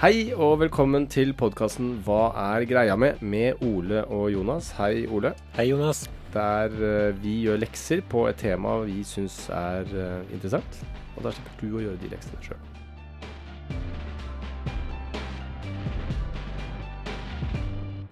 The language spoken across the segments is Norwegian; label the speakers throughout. Speaker 1: Hei og velkommen til podkasten Hva er greia med? med Ole og Jonas. Hei, Ole.
Speaker 2: Hei, Jonas.
Speaker 1: Der eh, vi gjør lekser på et tema vi syns er eh, interessant. Og da slipper du å gjøre de leksene sjøl.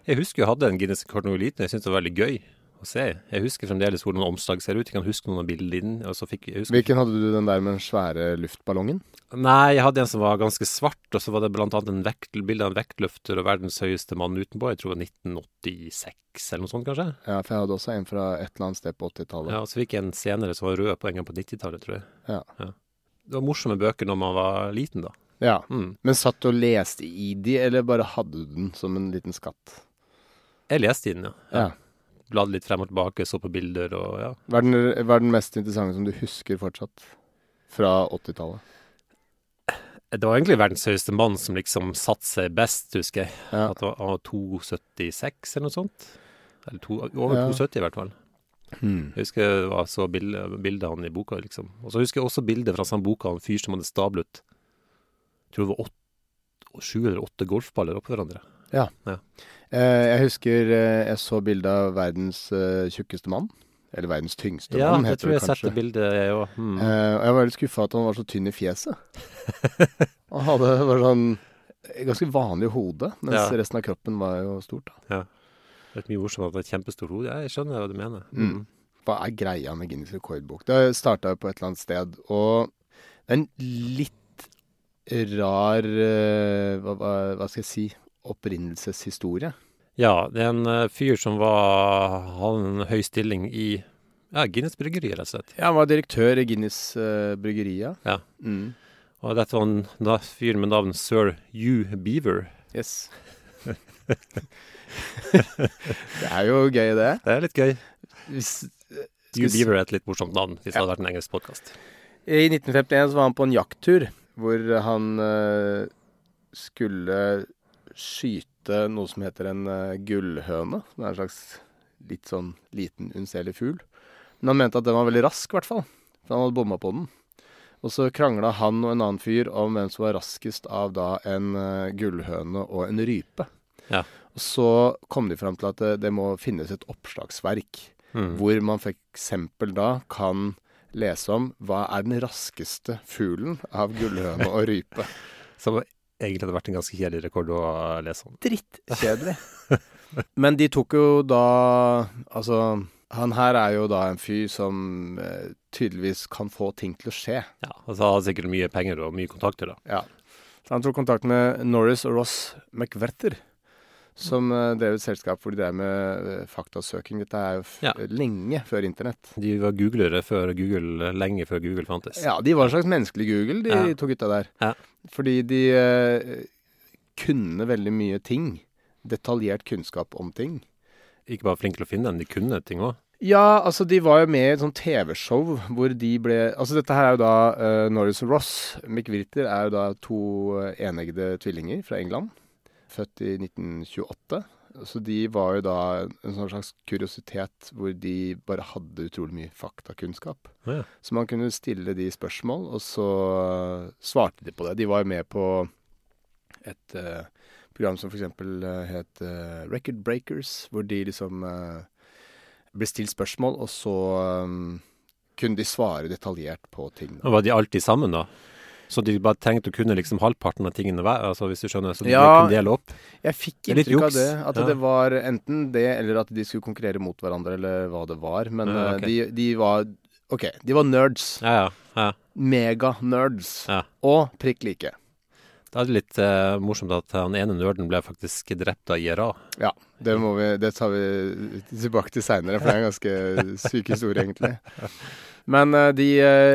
Speaker 2: Jeg husker jeg hadde en Guinness rekord da jeg var liten. Jeg syntes det var veldig gøy å se. Jeg husker fremdeles hvordan omslag ser ut. Jeg kan huske noen av bildene dine. Og så fikk, jeg husker,
Speaker 1: Hvilken hadde du den der med den svære luftballongen?
Speaker 2: Nei, jeg hadde en som var ganske svart, og så var det blant annet en vekt, bilde av en vektløfter og verdens høyeste mann utenpå. Jeg tror det var 1986 eller noe sånt, kanskje.
Speaker 1: Ja, for jeg hadde også en fra et eller annet sted på 80-tallet.
Speaker 2: Ja, og så fikk jeg en senere som var rød på en gang på 90-tallet, tror jeg.
Speaker 1: Ja.
Speaker 2: Det var morsomme bøker når man var liten, da.
Speaker 1: Ja.
Speaker 2: Mm.
Speaker 1: Men satt du og leste i de, eller bare hadde du den som en liten skatt?
Speaker 2: Jeg leste den, ja.
Speaker 1: Ja.
Speaker 2: Bladde litt frem og tilbake, så på bilder og ja.
Speaker 1: Hva er den, hva er den mest interessante som du husker fortsatt? Fra 80-tallet.
Speaker 2: Det var egentlig verdens høyeste mann som liksom satte seg best, husker jeg.
Speaker 1: Ja.
Speaker 2: At det var- han var 2,76 eller noe sånt. Eller to, over
Speaker 1: Ja.
Speaker 2: 2,70 i hvert fall.
Speaker 1: Hmm.
Speaker 2: Jeg husker jeg var- så bildet, bildet han i boka, liksom. Og så husker jeg også bildet fra sånn boka av en fyr som hadde stablet jeg tror det var åtte, sju eller åtte golfballer oppå hverandre.
Speaker 1: Eh, jeg husker eh, jeg så bilde av verdens eh, tjukkeste mann. Eller verdens tyngste
Speaker 2: Ja,
Speaker 1: mann,
Speaker 2: jeg
Speaker 1: heter
Speaker 2: tror
Speaker 1: det
Speaker 2: jeg har sett
Speaker 1: kanskje.
Speaker 2: det bildet, jeg òg. Hmm.
Speaker 1: Eh, og jeg var litt skuffa at han var så tynn i fjeset. han hadde bare sånn ganske vanlig hode, mens
Speaker 2: Ja.
Speaker 1: resten av kroppen var jo stort. Da.
Speaker 2: Det er mye morsomt at det er et kjempestort hode. Ja, jeg skjønner hva du mener.
Speaker 1: Mm. Hva er greia med Guinness rekordbok? Det starta jo på et eller annet sted, og det er en litt rar eh, hva, hva, hva skal jeg si opprinnelseshistorie.
Speaker 2: Ja, det er en eh, fyr som var, hadde en høy stilling i ja, Guinness bryggeri, rett og slett.
Speaker 1: Ja, han var direktør i Guinness uh, bryggeria.
Speaker 2: Ja.
Speaker 1: Mm.
Speaker 2: Og dette var en na- fyr med navn Sir Hugh Beaver.
Speaker 1: Yes. det er jo gøy, det.
Speaker 2: Det er litt gøy.
Speaker 1: Hvis,
Speaker 2: Hugh
Speaker 1: Skal vi s-
Speaker 2: Beaver er et litt morsomt navn, hvis det hadde vært en engelsk podkast.
Speaker 1: I 1951 så var han på en jakttur hvor han eh, skulle skyte noe som heter en eh, gullhøne. Som er en slags litt sånn liten, unnselig fugl. Men han mente at den var veldig rask, i hvert fall. For han hadde bomma på den. Og så krangla han og en annen fyr om hvem som var raskest av da en eh, gullhøne og en rype.
Speaker 2: Ja.
Speaker 1: Og så kom de fram til at eh, det, det må finnes et oppslagsverk
Speaker 2: Mm.
Speaker 1: hvor man for eksempel da kan lese om hva er den raskeste fuglen av gullhøne og rype.
Speaker 2: Som egentlig hadde vært en ganske kjedelig rekord å lese om.
Speaker 1: Drittkjedelig. Men de tok jo da Altså, han her er jo da en fyr som eh, tydeligvis kan få ting til å skje.
Speaker 2: Ja, Og så hadde han sikkert mye penger og mye kontakter, da.
Speaker 1: Ja. Så han tok kontakt med Norris og Ross McWerther, som eh, drev et selskap hvor de drev med eh, faktasøking. Dette er jo f
Speaker 2: Ja.
Speaker 1: lenge før internett.
Speaker 2: De var googlere før Google, lenge før Google fantes.
Speaker 1: Ja, de var en slags menneskelig Google, de
Speaker 2: Ja.
Speaker 1: to gutta der.
Speaker 2: Ja.
Speaker 1: Fordi de eh, kunne veldig mye ting. Detaljert kunnskap om ting.
Speaker 2: Ikke bare flinke til å finne dem, de kunne ting òg.
Speaker 1: Ja, altså de var jo med i et sånt TV-show hvor de ble Altså dette her er jo da eh, Norris og Ross. McWhirter er jo da to eh, eneggede tvillinger fra England. Født i 1928. Så de var jo da en sånn slags kuriositet hvor de bare hadde utrolig mye faktakunnskap.
Speaker 2: Ja.
Speaker 1: Så man kunne stille de spørsmål, og så eh, svarte de på det. De var jo med på et eh, program som for eksempel eh, het eh, Record Breakers, hvor de liksom eh, ble stilt spørsmål, og så eh, kunne de svare detaljert på ting. Da.
Speaker 2: Og var de alltid sammen, da? Så de bare trengte å kunne liksom halvparten av tingene hver, altså hvis du skjønner, så de
Speaker 1: Ja.
Speaker 2: kunne dele opp?
Speaker 1: Jeg fikk
Speaker 2: Det er litt
Speaker 1: inntrykk av
Speaker 2: juks.
Speaker 1: det, at
Speaker 2: Ja.
Speaker 1: det var enten det, eller at de skulle konkurrere mot hverandre, eller hva det var. Men
Speaker 2: Ja,
Speaker 1: eh,
Speaker 2: ok.
Speaker 1: de, de var OK, de var nerds.
Speaker 2: Ja, ja. ja.
Speaker 1: Mega-nerds.
Speaker 2: Ja.
Speaker 1: Og prikk like.
Speaker 2: Det er det litt eh, morsomt at han ene nerden ble faktisk drept av IRA.
Speaker 1: Ja, det, må vi, det tar vi tilbake til seinere, for det er en ganske syk historie, egentlig. Men eh, de eh,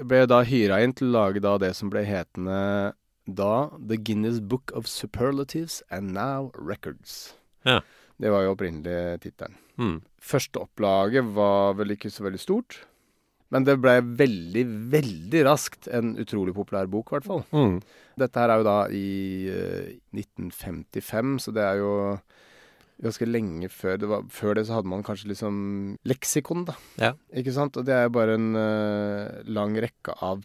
Speaker 1: ble da hyra inn til å lage da det som ble hetende da The Guinness Book of Superlatives and Now Records.
Speaker 2: Ja.
Speaker 1: Det var jo opprinnelig tittelen.
Speaker 2: Mm.
Speaker 1: Første opplaget var vel ikke så veldig stort. Men det ble veldig, veldig raskt en utrolig populær bok, i hvert fall.
Speaker 2: Mm.
Speaker 1: Dette her er jo da i eh, 1955, så det er jo ganske lenge før det. Var, før det så hadde man kanskje liksom leksikon, da.
Speaker 2: Ja.
Speaker 1: Ikke sant? Og det er jo bare en eh, lang rekke av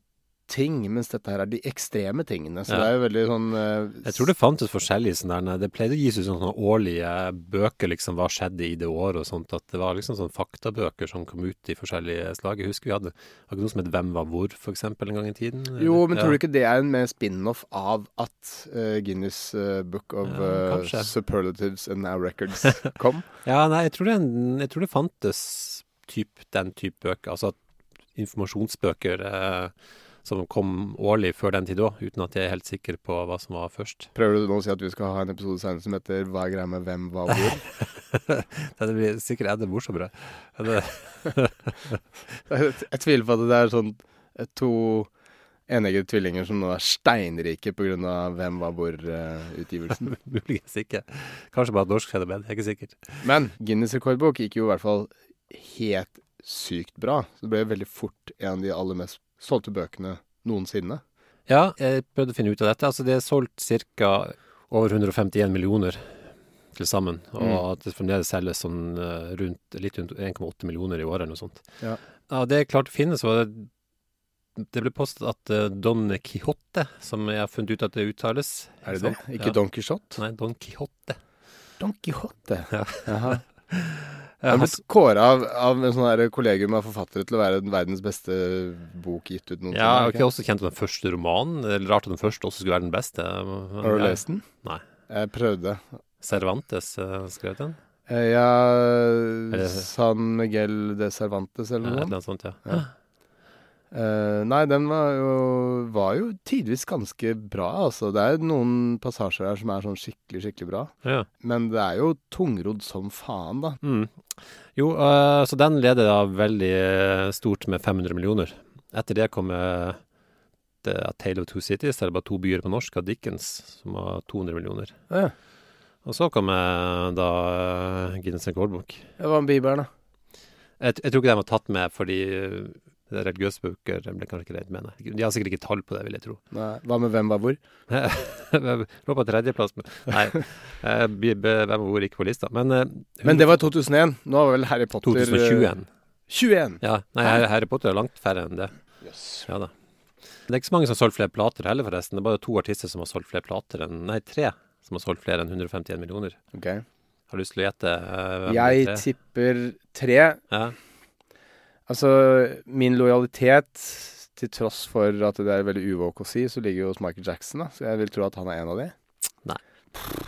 Speaker 1: ting, mens dette her er de ekstreme tingene. Så
Speaker 2: Ja.
Speaker 1: det er jo veldig sånn eh,
Speaker 2: Jeg tror det fantes forskjellige sånne der, det pleide å gis ut sånne årlige bøker, liksom hva skjedde i det året og sånt, at det var liksom sånne faktabøker som kom ut i forskjellige slag. Jeg husker vi hadde akkurat noe som het Hvem var hvor, for eksempel, en gang i tiden.
Speaker 1: Jo, men
Speaker 2: Ja.
Speaker 1: tror du ikke det er en mer spin-off av at eh, Guinness eh, Book of
Speaker 2: Ja,
Speaker 1: eh,
Speaker 2: kanskje.
Speaker 1: Superlatives and Now Records kom?
Speaker 2: Ja, nei, jeg tror det, jeg tror det fantes typ, den type bøker, altså at informasjonsbøker eh, som kom årlig før den tid òg, uten at jeg er helt sikker på hva som var først.
Speaker 1: Prøver du nå å si at vi skal ha en episode senere som heter 'Hva er greia med hvem, hva, hvor'?
Speaker 2: det blir sikkert enda morsommere. Er det-
Speaker 1: Jeg, jeg tviler på at det er sånn eh, to eneggede tvillinger som nå er steinrike pga. Hvem var eh, hvor-utgivelsen.
Speaker 2: Muligens ikke. Kanskje bare at norsk er det bedre, jeg er ikke sikker.
Speaker 1: Men Guinness rekordbok gikk jo i hvert fall helt sykt bra. Så det ble veldig fort en av de aller mest solgte bøkene noensinne.
Speaker 2: Ja, jeg prøvde å finne ut av dette. Altså, det er solgt ca. over 151 millioner til sammen. Og
Speaker 1: Mm.
Speaker 2: at det fremdeles selges sånn eh, rundt, litt rundt 1,8 millioner i året eller noe sånt.
Speaker 1: Ja.
Speaker 2: Av det jeg klarte å finne, så var det Det ble påstått at eh, Don Quijote, som jeg har funnet ut at det uttales Sånn.
Speaker 1: Er det det? Ikke
Speaker 2: ja.
Speaker 1: Don Quijote?
Speaker 2: Nei, Don Quijote.
Speaker 1: Don Quijote.
Speaker 2: Ja.
Speaker 1: Jaha.
Speaker 2: Ja,
Speaker 1: Den ble
Speaker 2: han-
Speaker 1: kåra av, av en sånn her kollegium av forfattere til å være den verdens beste bok gitt ut noensinne.
Speaker 2: ja,
Speaker 1: er
Speaker 2: jeg
Speaker 1: det
Speaker 2: er også kjent med den første romanen. Det er Rart at den første også skulle være den beste.
Speaker 1: ikke? Har du lest den?
Speaker 2: Nei.
Speaker 1: Jeg prøvde.
Speaker 2: Cervantes eh, skrev den.
Speaker 1: Eh, Ja
Speaker 2: det-
Speaker 1: San Miguel de Cervantes
Speaker 2: Ja,
Speaker 1: eller
Speaker 2: et
Speaker 1: noe
Speaker 2: eller
Speaker 1: sånt.
Speaker 2: annet sånt, ja.
Speaker 1: Ja. Eh, nei, den var jo, var jo tidvis ganske bra, altså. Det er noen passasjer her som er sånn skikkelig, skikkelig bra.
Speaker 2: ja.
Speaker 1: Men det er jo tungrodd som faen, da.
Speaker 2: Mm. Jo, eh, så den leder da veldig eh, stort med 500 millioner. Etter det kom eh, det, A Tale of Two Cities, eller bare to byer på norsk, av Dickens, som var 200 millioner.
Speaker 1: Ja.
Speaker 2: Og så kom eh, da eh, Guinness rekordbok.
Speaker 1: Det var en bibel, da.
Speaker 2: Jeg, t- jeg tror ikke den var tatt med fordi eh, religiøse bøker ble kanskje ikke regnet med, nei. De har sikkert ikke tall på det, vil jeg tro.
Speaker 1: Nei, hva med hvem var hvor?
Speaker 2: Jeg Lå på tredjeplass, men nei. eh, bi- be- Hvem og hvor gikk på lista? Men, eh,
Speaker 1: Men det var 2001. Nå var vel Harry Potter eh,
Speaker 2: 2021.
Speaker 1: 21.
Speaker 2: Ja, nei, Harry- Harry Potter er langt færre enn det. Ja da. Det er ikke så mange som har solgt flere plater heller, forresten. Det er bare to artister som har solgt flere plater enn Nei, tre som har solgt flere enn 151 millioner.
Speaker 1: Ok.
Speaker 2: Har du lyst til å gjette? eh, hvem de
Speaker 1: Jeg
Speaker 2: tre?
Speaker 1: tipper tre.
Speaker 2: ja.
Speaker 1: Altså, min lojalitet, til tross for at det er veldig uvåk å si, så ligger jo hos Michael Jackson, da. Så jeg vil tro at han er en av de.
Speaker 2: Nei.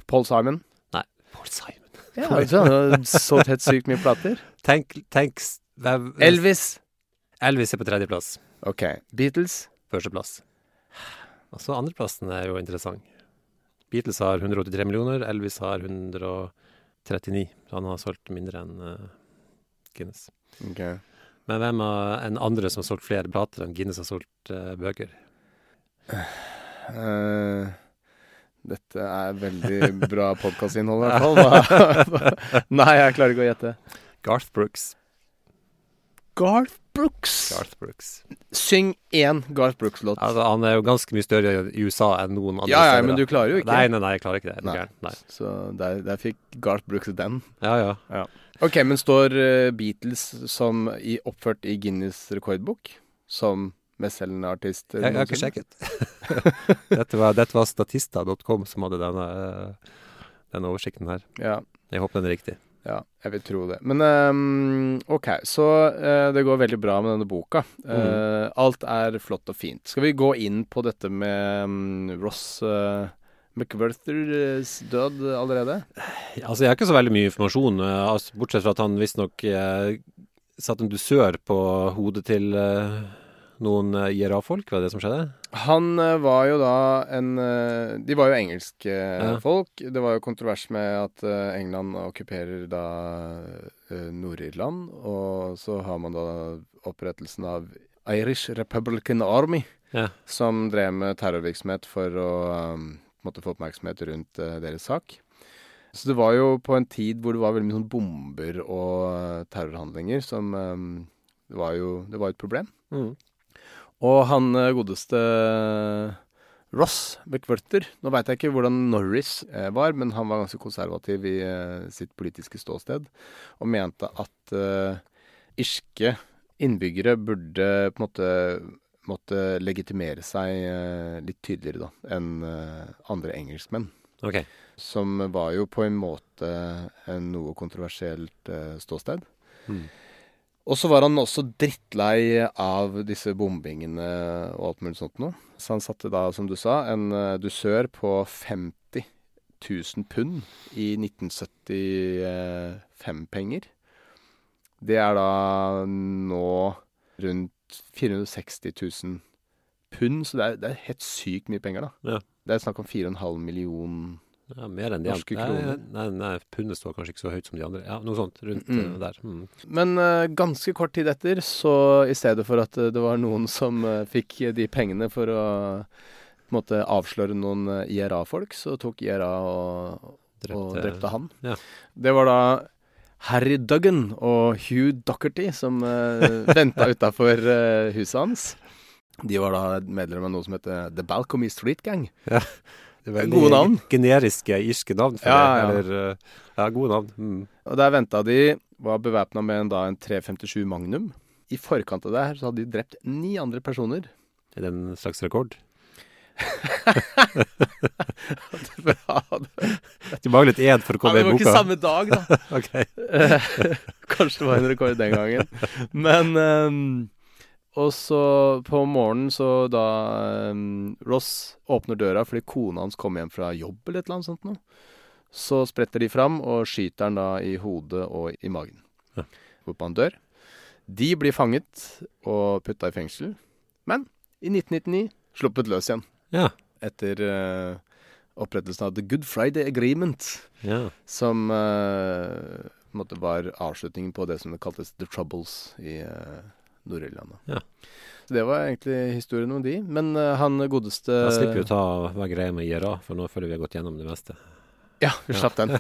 Speaker 1: Paul Simon.
Speaker 2: Nei, Paul Simon.
Speaker 1: Ja, altså. han har solgt helt sykt mye plater.
Speaker 2: Tenk, tenk s- hvem-
Speaker 1: Elvis.
Speaker 2: Elvis er på tredjeplass.
Speaker 1: Ok. Beatles.
Speaker 2: Førsteplass. Og så andreplassen er jo interessant. Beatles har 183 millioner, Elvis har 139. Så han har solgt mindre enn eh, Guinness.
Speaker 1: Ok.
Speaker 2: Men hvem av- enn andre som har solgt flere plater enn Guinness har solgt eh, bøker?
Speaker 1: Eh, dette er veldig bra podkastinnhold, i hvert fall. Hva- Nei, jeg klarer ikke å gjette.
Speaker 2: Garth Brooks.
Speaker 1: Garth Brooks.
Speaker 2: Garth Brooks.
Speaker 1: Syng én Garth Brooks-låt.
Speaker 2: Altså, han er jo ganske mye større i USA enn noen andre
Speaker 1: Ja, ja,
Speaker 2: steder,
Speaker 1: men
Speaker 2: da.
Speaker 1: du klarer jo ikke.
Speaker 2: Nei, nei, nei, jeg klarer ikke det. Er du
Speaker 1: Nei.
Speaker 2: gæren? Nei.
Speaker 1: Så der, der fikk Garth Brooks den.
Speaker 2: Ja, ja.
Speaker 1: Ok, men står eh, Beatles som i, oppført i Guinness rekordbok som mestselgende artist. eh,
Speaker 2: Jeg, jeg har ikke
Speaker 1: noensinne.
Speaker 2: sjekket. dette var, dette var statista.com som hadde denne, eh, denne oversikten her.
Speaker 1: Ja,
Speaker 2: Jeg håper den er riktig.
Speaker 1: ja, jeg vil tro det. Men ehm, ok, så eh, det går veldig bra med denne boka.
Speaker 2: Mm.
Speaker 1: Eh, alt er flott og fint. Skal vi gå inn på dette med mm, Ross uh, McWerthers død allerede?
Speaker 2: Altså, jeg har ikke så veldig mye informasjon, eh, altså, bortsett fra at han visstnok eh, satte en dusør på hodet til eh, noen eh, IRA-folk, var det det som skjedde?
Speaker 1: Han eh, var jo da en eh, De var jo engelske eh,
Speaker 2: Ja.
Speaker 1: folk. Det var jo kontrovers med at eh, England okkuperer da eh, Nord-Irland. Og så har man da opprettelsen av Irish Republican Army,
Speaker 2: Ja.
Speaker 1: som drev med terrorvirksomhet for å eh, på en måte få oppmerksomhet rundt eh, deres sak. Så det var jo på en tid hvor det var veldig mye sånn bomber og eh, terrorhandlinger som eh, det var jo det var et problem. Og han eh, godeste eh, Ross McWhirter Nå veit jeg ikke hvordan Norris eh, var, men han var ganske konservativ i eh, sitt politiske ståsted, og mente at eh, irske innbyggere burde på en måte måtte legitimere seg eh, litt tydeligere da, enn eh, andre engelskmenn.
Speaker 2: Ok.
Speaker 1: Som var jo på en måte en noe kontroversielt eh, ståsted. Og så var han også drittlei av disse bombingene og alt mulig sånt noe. Så han satte da, som du sa, en eh, dusør på 50 000 pund i 1975-penger. Det er da nå rundt 460 000 pund, så det er, det er helt sykt mye penger, da.
Speaker 2: Ja.
Speaker 1: Det er snakk om 4,5 million
Speaker 2: Ja, mer enn de
Speaker 1: Norske
Speaker 2: andre.
Speaker 1: kroner.
Speaker 2: Nei, nei, nei pundet står kanskje ikke så høyt som de andre. Ja, noe sånt rundt
Speaker 1: Mm.
Speaker 2: eh, der. Mm.
Speaker 1: Men eh, ganske kort tid etter, så i stedet for at eh, det var noen som eh, fikk de pengene for å på en måte avsløre noen eh, IRA-folk, så tok IRA og, og
Speaker 2: Drepte-
Speaker 1: drepte han.
Speaker 2: ja.
Speaker 1: Det var da Harry Duggan og Hugh Docherty som uh, venta utafor eh, huset hans. De var da medlem av noe som heter The Balcombe Street Gang.
Speaker 2: Det er
Speaker 1: Gode
Speaker 2: veldig
Speaker 1: navn.
Speaker 2: Generiske irske navn. For
Speaker 1: Ja,
Speaker 2: det,
Speaker 1: ja.
Speaker 2: eller, eh, ja, gode navn. Mm.
Speaker 1: Og der venta de, var bevæpna med en, da, en 357 Magnum. I forkant av det her så hadde de drept ni andre personer.
Speaker 2: Er det en slags rekord?
Speaker 1: Bra, det
Speaker 2: Du manglet én for å
Speaker 1: Ja,
Speaker 2: komme
Speaker 1: det
Speaker 2: i
Speaker 1: var
Speaker 2: boka.
Speaker 1: ikke samme dag, da.
Speaker 2: Ok.
Speaker 1: Kanskje det var en rekord den gangen. Men ehm, Og så på morgenen, så da ehm, Ross åpner døra fordi kona hans kommer hjem fra jobb eller et eller annet sånt noe, så spretter de fram og skyter han da i hodet og i magen.
Speaker 2: Ja.
Speaker 1: Hvorpå han dør. De blir fanget og putta i fengsel, men i 1999 sluppet løs igjen.
Speaker 2: Ja.
Speaker 1: Etter eh, opprettelsen av The Good Friday Agreement
Speaker 2: ja.
Speaker 1: som eh, på en måte var avslutningen på det som det kaltes The Troubles i eh, Nord-Irland. da.
Speaker 2: Ja.
Speaker 1: Så det var egentlig historien om de. Men eh, han godeste
Speaker 2: Da slipper vi å ta hva greia med IRA, for nå føler vi har gått gjennom det meste.
Speaker 1: Ja, vi slapp den.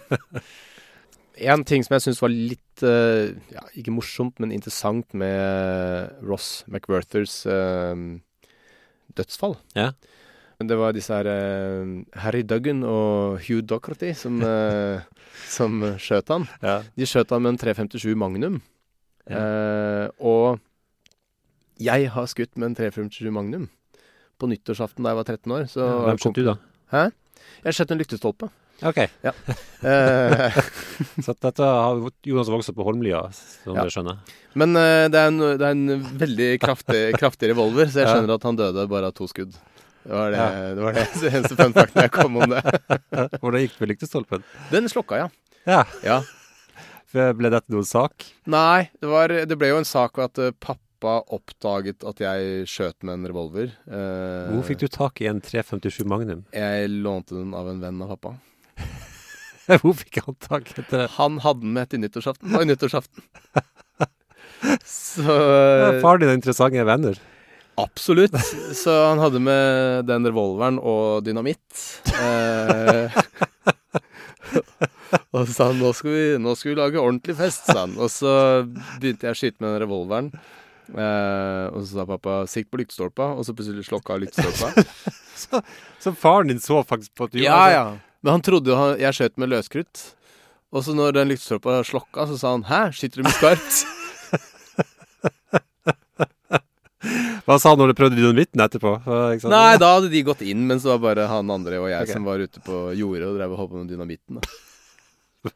Speaker 1: En ting som jeg syns var litt eh, ja, ikke morsomt, men interessant med eh, Ross McWerthers eh, dødsfall
Speaker 2: Ja.
Speaker 1: Men Det var disse her eh, Harry Duggan og Hugh Docherty som, eh, som skjøt han.
Speaker 2: Ja.
Speaker 1: De skjøt han med en 357 Magnum. Eh, og jeg har skutt med en 357 Magnum. På nyttårsaften da jeg var 13 år. Så
Speaker 2: Hvem skjøt du, da?
Speaker 1: Hæ? Jeg skjøt en lyktestolpe.
Speaker 2: Ok,
Speaker 1: Eh,
Speaker 2: så dette har Jonas vokst opp på Holmlia, som
Speaker 1: Ja.
Speaker 2: dere skjønner.
Speaker 1: men eh, det, er en, det er en veldig kraftig, kraftig revolver, så jeg skjønner at han døde bare av to skudd. Det var det, det, var det eneste fun facten jeg kom om det.
Speaker 2: Hvordan gikk det med lyktestolpen?
Speaker 1: Den slokka, ja.
Speaker 2: Ja,
Speaker 1: ja.
Speaker 2: ble dette noen sak?
Speaker 1: Nei, det, var, det ble jo en sak ved at eh, pappa oppdaget at jeg skjøt med en revolver. Eh,
Speaker 2: Hvor fikk du tak i en 357 Magnum?
Speaker 1: Jeg lånte den av en venn av pappa.
Speaker 2: Hvor fikk han tak i det?
Speaker 1: Han hadde den med til nyttårsaften. Og nyttårsaften. Så
Speaker 2: Ja, Faren din er interessante venner.
Speaker 1: Absolutt. Så han hadde med den revolveren og dynamitt. Eh, og så sa han nå skal, vi, 'Nå skal vi lage ordentlig fest', sa han. Og så begynte jeg å skyte med den revolveren. Eh, og så sa pappa 'sikt på lyktestolpa', og så plutselig slokka lyktestolpa.
Speaker 2: Så, så faren din så faktisk på at du
Speaker 1: Ja, ja. Men han trodde jo han, jeg skjøt med løskrutt. Og så når den lyktestolpa slokka, så sa han 'hæ, skyter du med skarpt?'
Speaker 2: Hva sa han når du prøvde dynamitten etterpå? Eh, Ikke sant?
Speaker 1: Nei, da hadde de gått inn, mens det var bare han andre og jeg
Speaker 2: Ok.
Speaker 1: som var ute på jordet og drev og holdt på med dynamitten. Da.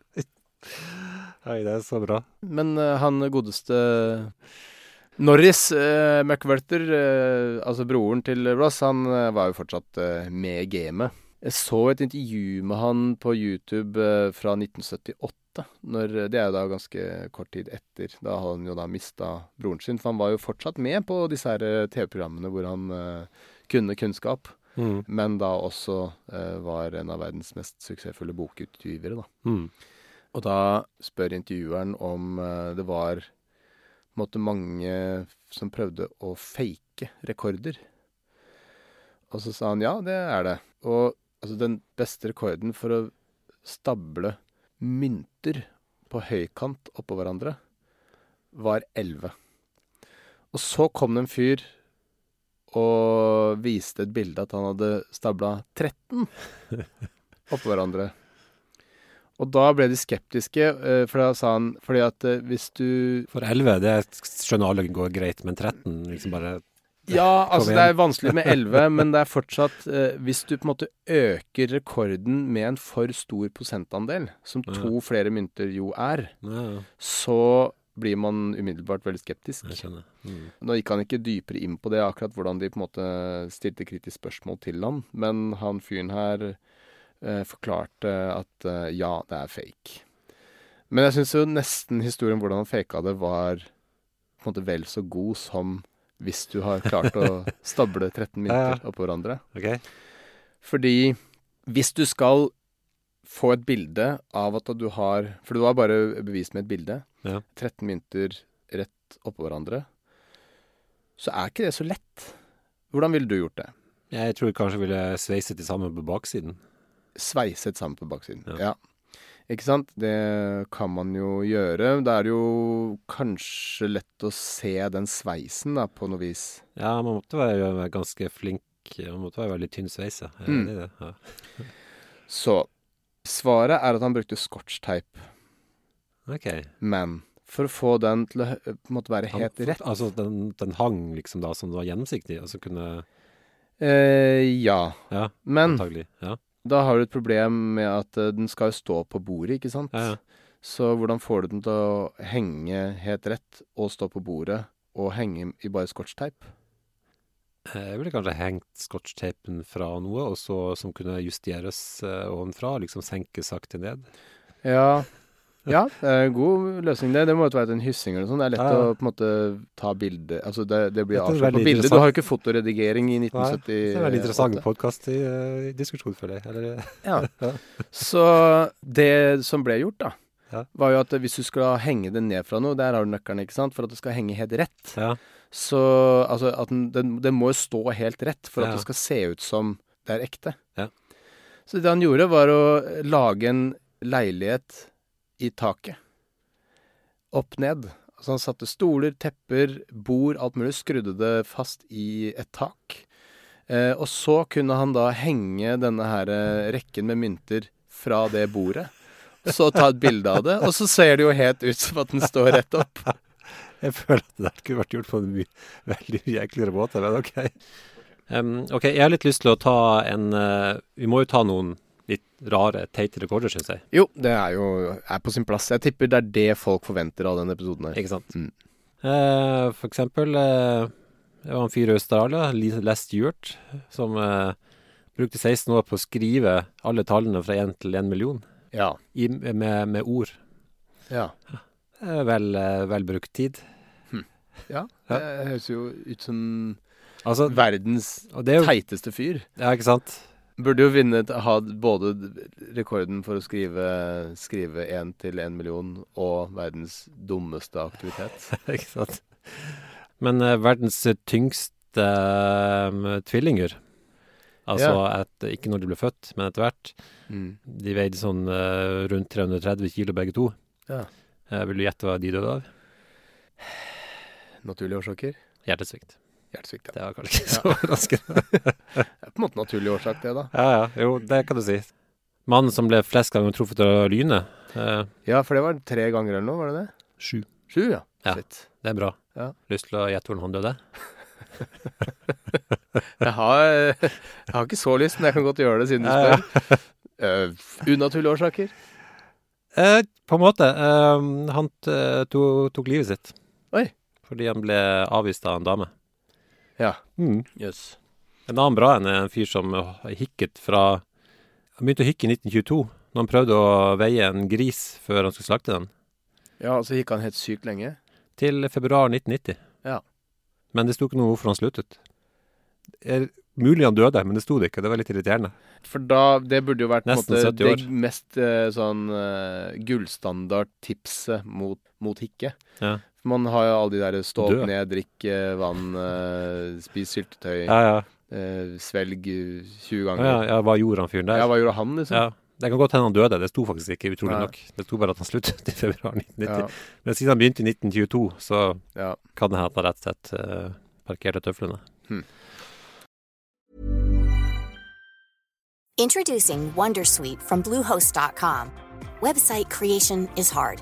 Speaker 2: Oi, det er så bra.
Speaker 1: Men eh, han godeste eh, Norris uh, McWelter, eh, altså broren til Ross, han eh, var jo fortsatt eh, med i gamet. Jeg så et intervju med han på YouTube eh, fra 1978. Når, eh, det er jo da ganske kort tid etter. Da hadde han jo da mista broren sin. For han var jo fortsatt med på disse her eh, TV-programmene hvor han eh, kunne kunnskap.
Speaker 2: Mm.
Speaker 1: men da også eh, var en av verdens mest suksessfulle bokutgivere. Da.
Speaker 2: Mm.
Speaker 1: Og da spør intervjueren om eh, det var på en måte mange som prøvde å fake rekorder. Og så sa han ja, det er det. Og altså, den beste rekorden for å stable mynter på høykant oppå hverandre var 11. Og så kom det en fyr og viste et bilde at han hadde stabla 13 oppå hverandre. Og da ble de skeptiske, eh, for da sa han fordi at eh, hvis du
Speaker 2: For 11, det skjønner alle går greit, men 13 liksom bare
Speaker 1: Ja, altså det
Speaker 2: igjen.
Speaker 1: er vanskelig med 11, men det er fortsatt eh, Hvis du på en måte øker rekorden med en for stor prosentandel, som to flere mynter jo er,
Speaker 2: Ja,
Speaker 1: så blir man umiddelbart veldig skeptisk.
Speaker 2: jeg skjønner. Mm.
Speaker 1: Nå gikk han ikke dypere inn på det, akkurat hvordan de på en måte stilte kritisk spørsmål til han, men han fyren her eh, forklarte at eh, ja, det er fake. Men jeg syns jo nesten historien hvordan han faka det, var på en måte vel så god som hvis du har klart å stable 13
Speaker 2: Ja,
Speaker 1: mynter
Speaker 2: ja.
Speaker 1: oppå hverandre.
Speaker 2: Ok.
Speaker 1: Fordi hvis du skal få et bilde av at du har For du har bare bevist med et bilde.
Speaker 2: Ja.
Speaker 1: 13 mynter rett oppå hverandre. Så er ikke det så lett. Hvordan ville du gjort det?
Speaker 2: Jeg tror kanskje ville sveiset de sammen på baksiden.
Speaker 1: Sveiset sammen på baksiden.
Speaker 2: Ja.
Speaker 1: Ja. Ikke sant? Det kan man jo gjøre. Da er det jo kanskje lett å se den sveisen, da, på noe vis.
Speaker 2: Ja, man måtte være være ganske flink. Man måtte være veldig tynn sveise. Jeg er
Speaker 1: Mm.
Speaker 2: enig i det. Ja.
Speaker 1: Så svaret er at han brukte scotch-teip,
Speaker 2: Ok.
Speaker 1: men for å få den til å hø- på en måte være
Speaker 2: Han-
Speaker 1: helt rett
Speaker 2: Altså, den, den hang liksom da som det var gjennomsiktig, og så kunne
Speaker 1: Eh, ja.
Speaker 2: Ja,
Speaker 1: Men
Speaker 2: antagelig. Ja.
Speaker 1: da har du et problem med at eh, den skal jo stå på bordet, ikke sant?
Speaker 2: Ja, ja.
Speaker 1: Så hvordan får du den til å henge helt rett og stå på bordet og henge i bare scotch-teip?
Speaker 2: Eh, Jeg ville kanskje hengt scotchteipen fra noe, og så som kunne justeres eh, ovenfra, liksom senke sakte ned.
Speaker 1: Ja. ja, det er en god løsning det. Det må jo være til en hyssing eller noe sånt. Det er lett
Speaker 2: Ja, ja.
Speaker 1: å på en måte ta bilde Altså det, det blir
Speaker 2: Dette er
Speaker 1: avslørt
Speaker 2: veldig
Speaker 1: på bildet. Du
Speaker 2: interessant.
Speaker 1: har jo ikke fotoredigering i
Speaker 2: Nei,
Speaker 1: 1970.
Speaker 2: det er en veldig interessant podkast-diskusjon, føler jeg. Eller,
Speaker 1: Ja.
Speaker 2: Ja.
Speaker 1: Så det som ble gjort, da,
Speaker 2: Ja.
Speaker 1: var jo at hvis du skulle henge det ned fra noe, der har du nøkkelen, ikke sant, for at det skal henge helt rett.
Speaker 2: ja.
Speaker 1: Så altså, at den, den, den må jo stå helt rett for at
Speaker 2: Ja.
Speaker 1: det skal se ut som det er ekte.
Speaker 2: Ja.
Speaker 1: Så det han gjorde, var å lage en leilighet i taket. Opp ned. Altså han satte stoler, tepper, bord, alt mulig. Skrudde det fast i et tak. Eh, og så kunne han da henge denne her eh, rekken med mynter fra det bordet. Så ta et bilde av det, og så ser det jo helt ut som at den står rett opp.
Speaker 2: Jeg føler at det der kunne vært gjort på en mye, veldig mye enklere måte, men ok. Em, ok, jeg har litt lyst til å ta en eh, Vi må jo ta noen litt rare, teite rekorder, syns jeg.
Speaker 1: Jo, det er jo er på sin plass. Jeg tipper det er det folk forventer av denne episoden her.
Speaker 2: Ikke sant?
Speaker 1: Mm.
Speaker 2: Eh, for eksempel eh, Det var en fyr i Australia, Lee- Les Stewart, som eh, brukte 16 år på å skrive alle tallene fra 1 til 1 million
Speaker 1: Ja.
Speaker 2: i, med, med ord.
Speaker 1: Ja.
Speaker 2: Eh, vel, eh, vel brukt tid. Ja.
Speaker 1: ja. Det høres jo ut som
Speaker 2: Altså,
Speaker 1: verdens
Speaker 2: og det er jo
Speaker 1: teiteste fyr.
Speaker 2: Ja, ikke sant?
Speaker 1: Burde jo vinnet ha både rekorden for å skrive Skrive én til én million og verdens dummeste aktivitet.
Speaker 2: ikke sant? Men eh, verdens tyngste eh, tvillinger, altså at, ikke når de ble født, men etter hvert,
Speaker 1: Mm.
Speaker 2: de veide sånn eh, rundt 330 kilo begge to.
Speaker 1: Ja.
Speaker 2: Eh, vil du gjette hva de døde av?
Speaker 1: Naturlige årsaker.
Speaker 2: Hjertesvikt.
Speaker 1: Hjertesvikt. Ja.
Speaker 2: Det var kanskje ikke så overraskende.
Speaker 1: Det er på en måte naturlig årsak, det, da.
Speaker 2: ja, ja, jo, det kan du si. Mannen som ble flest ganger truffet av lynet, eh,
Speaker 1: Ja, for det var tre ganger eller noe, var det det?
Speaker 2: sju.
Speaker 1: Sju, ja.
Speaker 2: Ja.
Speaker 1: Shit.
Speaker 2: Det er bra.
Speaker 1: Ja.
Speaker 2: Lyst til å gjette hvordan han døde?
Speaker 1: Jeg har, jeg har ikke så lyst, men jeg kan godt gjøre det siden du
Speaker 2: Ja,
Speaker 1: spør. Eh, unaturlige årsaker.
Speaker 2: Eh, på en måte. eh, han t- to, tok livet sitt.
Speaker 1: Oi.
Speaker 2: Fordi han ble avvist av en dame.
Speaker 1: Ja.
Speaker 2: Mm.
Speaker 1: Jøss.
Speaker 2: En annen bra en er en fyr som hikket fra Han begynte å hikke i 1922, når han prøvde å veie en gris før han skulle slakte den,
Speaker 1: Ja, og så gikk han helt sykt lenge.
Speaker 2: til februar 1990.
Speaker 1: Ja.
Speaker 2: Men det sto ikke noe hvorfor han sluttet. Det er mulig han døde, men det sto det ikke. Det var litt irriterende.
Speaker 1: For da Det burde jo vært på en
Speaker 2: Nesten
Speaker 1: måte,
Speaker 2: 70 år.
Speaker 1: det mest eh, sånn eh, gullstandard-tipset mot, mot hikke.
Speaker 2: Ja.
Speaker 1: For man har jo alle de derre stå
Speaker 2: Dø.
Speaker 1: opp ned, drikk eh, vann, eh, spis syltetøy,
Speaker 2: Ja, ja.
Speaker 1: eh, svelg eh, 20
Speaker 2: ja,
Speaker 1: ganger.
Speaker 2: ja hva gjorde han fyren der?
Speaker 1: Ja, hva gjorde han, liksom?
Speaker 2: Ja. Det kan godt hende han døde, det sto faktisk ikke, utrolig
Speaker 1: Nei.
Speaker 2: nok. Det sto bare at han sluttet i februar 1990.
Speaker 1: Ja,
Speaker 2: Men siden han begynte i 1922, så
Speaker 1: ja.
Speaker 2: kan det hende at han rett og slett eh, parkerte tøflene.
Speaker 3: Introducing WonderSuite from Bluehost.com. Website creation is hard,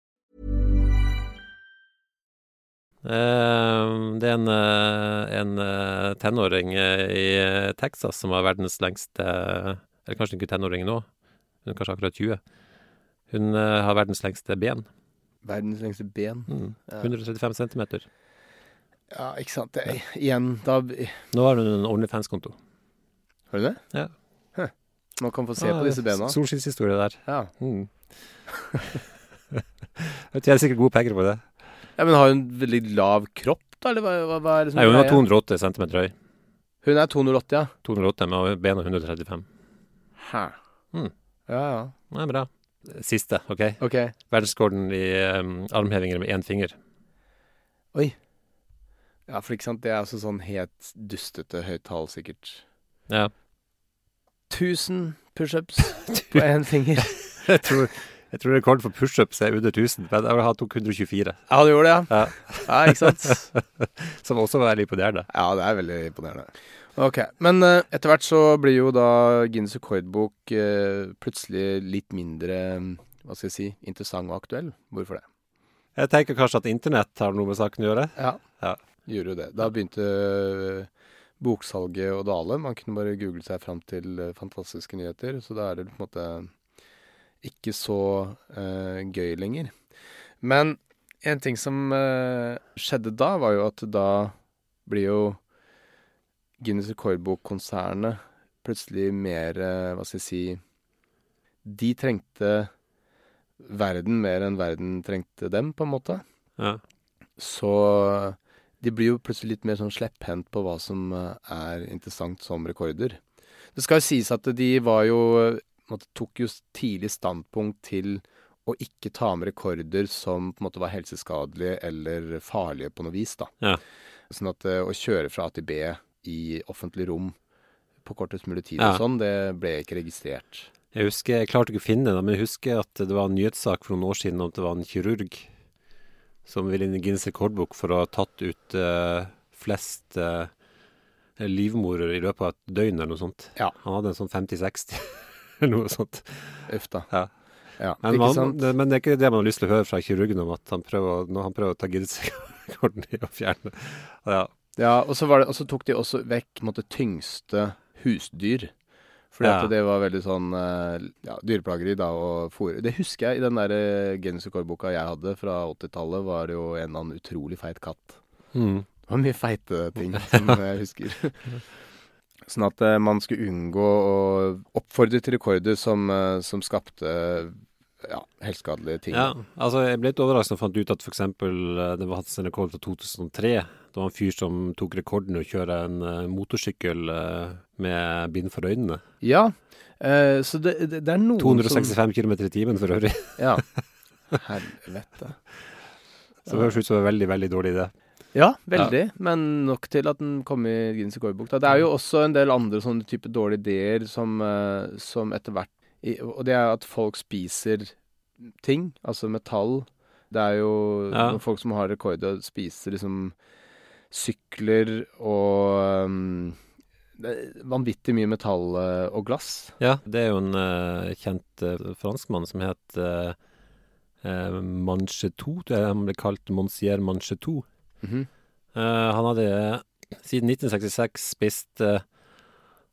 Speaker 2: Eh, det er en, eh, en eh, tenåring eh, i eh, Texas som har verdens lengste eh, Eller kanskje ikke tenåring nå, hun er kanskje akkurat 20. Hun eh, har verdens lengste ben.
Speaker 1: Verdens lengste ben.
Speaker 2: Mm. 135 cm.
Speaker 1: Ja, ikke sant. Det, igjen, da Har
Speaker 2: Nå har hun en OnlyFans-konto.
Speaker 1: du det?
Speaker 2: Ja.
Speaker 1: Huh. Man kan få se
Speaker 2: Ja,
Speaker 1: på disse bena.
Speaker 2: Ah, Solskinnshistorie der.
Speaker 1: Ja.
Speaker 2: Mm. Jeg tjener sikkert gode penger på det.
Speaker 1: ja, Men har hun veldig lav kropp, da? Eller hva, hva, hva er det som
Speaker 2: Nei, hun
Speaker 1: greia?
Speaker 2: er 208 cm høy.
Speaker 1: Hun er 208, ja.
Speaker 2: 208 med bena 135.
Speaker 1: Hæ.
Speaker 2: Mm.
Speaker 1: Ja, ja.
Speaker 2: Nei, bra. Siste, OK?
Speaker 1: Ok.
Speaker 2: Verdensrekorden i em, armhevinger med én finger.
Speaker 1: Oi. Ja, for ikke sant, det er altså sånn helt dustete høyt tall, sikkert.
Speaker 2: Ja.
Speaker 1: 1000 pushups på én finger.
Speaker 2: Jeg tror, jeg tror rekorden for pushups er under 1000, men jeg vil ha 224,
Speaker 1: Ja, du gjorde det,
Speaker 2: Ja.
Speaker 1: ja. Ja, ikke sant.
Speaker 2: som også var veldig imponerende.
Speaker 1: Ja, det er veldig imponerende. Ok, Men eh, etter hvert så blir jo da Guinness rekordbok eh, plutselig litt mindre mm, hva skal jeg si, interessant og aktuell. Hvorfor det?
Speaker 2: Jeg tenker kanskje at internett har noe med saken å gjøre.
Speaker 1: Ja.
Speaker 2: Ja.
Speaker 1: Gjorde jo det. Da begynte eh, boksalget å dale. Man kunne bare google seg fram til eh, fantastiske nyheter, så da er det på en måte ikke så eh, gøy lenger. Men en ting som eh, skjedde da, var jo at da blir jo Guinness rekordbok-konsernet plutselig mer eh, Hva skal jeg si De trengte verden mer enn verden trengte dem, på en måte.
Speaker 2: Ja.
Speaker 1: Så de blir jo plutselig litt mer sånn slepphendt på hva som eh, er interessant som rekorder. Det skal jo sies at de var jo eh, på en måte, tok jo s- tidlig standpunkt til å ikke ta med rekorder som på en måte var helseskadelige eller farlige på noe vis, da.
Speaker 2: Ja.
Speaker 1: Sånn at eh, å kjøre fra A til B i offentlig rom på kortest mulig tid
Speaker 2: Ja.
Speaker 1: og sånn, det ble ikke registrert.
Speaker 2: Jeg husker, jeg klarte ikke å finne det, men jeg husker at det var en nyhetssak for noen år siden om at det var en kirurg som ville inn i Guinness rekordbok for å ha tatt ut eh, flest eh, livmorer i løpet av et døgn eller noe sånt.
Speaker 1: Ja.
Speaker 2: Han hadde en sånn 50-60 eller noe sånt.
Speaker 1: Uff da.
Speaker 2: Ja.
Speaker 1: Ja,
Speaker 2: Men,
Speaker 1: ikke
Speaker 2: man,
Speaker 1: sant?
Speaker 2: det, men det er ikke det man har lyst til å høre fra kirurgen om at han prøver, å- når han prøver å ta Guinness-rekorden i å fjerne. Ja,
Speaker 1: Ja, og så, var det, og så tok de også vekk på en måte, tyngste husdyr. Fordi
Speaker 2: Ja.
Speaker 1: at det var veldig sånn eh, ja, dyreplageri da, og fôr. Det husker jeg i den der eh, Guinness rekordboka jeg hadde fra 80-tallet, var det jo en eller annen Mm. utrolig feit katt. Det var mye feite ting som jeg husker. Sånn at eh, man skulle unngå å oppfordre til rekorder som, eh, som skapte ja, helseskadelige ting.
Speaker 2: Ja, altså jeg ble litt overrasket da jeg fant ut at f.eks. det var hatt en rekord fra 2003. Det var en fyr som tok rekorden i å kjøre en eh, motorsykkel eh, med bind for øynene.
Speaker 1: Ja, eh, så det, det, det er noen
Speaker 2: 265 km i timen for øvrig.
Speaker 1: som Ja. Helvete.
Speaker 2: Så det høres ut som en veldig, veldig dårlig idé.
Speaker 1: Ja, veldig, men nok til at den kom i Guinness rekordbok. Da. Det er jo også en del andre sånne type dårlige ideer som, eh, som etter hvert i- Og det er at folk spiser ting, altså metall. Det er jo
Speaker 2: Ja.
Speaker 1: noen folk som har rekord og spiser liksom sykler og um, det er vanvittig mye metall eh, og glass.
Speaker 2: Ja, det er jo en eh, kjent eh, franskmann som het eh, uh, Manchetou. Det er- han ble kalt Monsieur Manchetou.
Speaker 1: Mhm.
Speaker 2: Eh, han hadde eh, siden 1966 spist eh,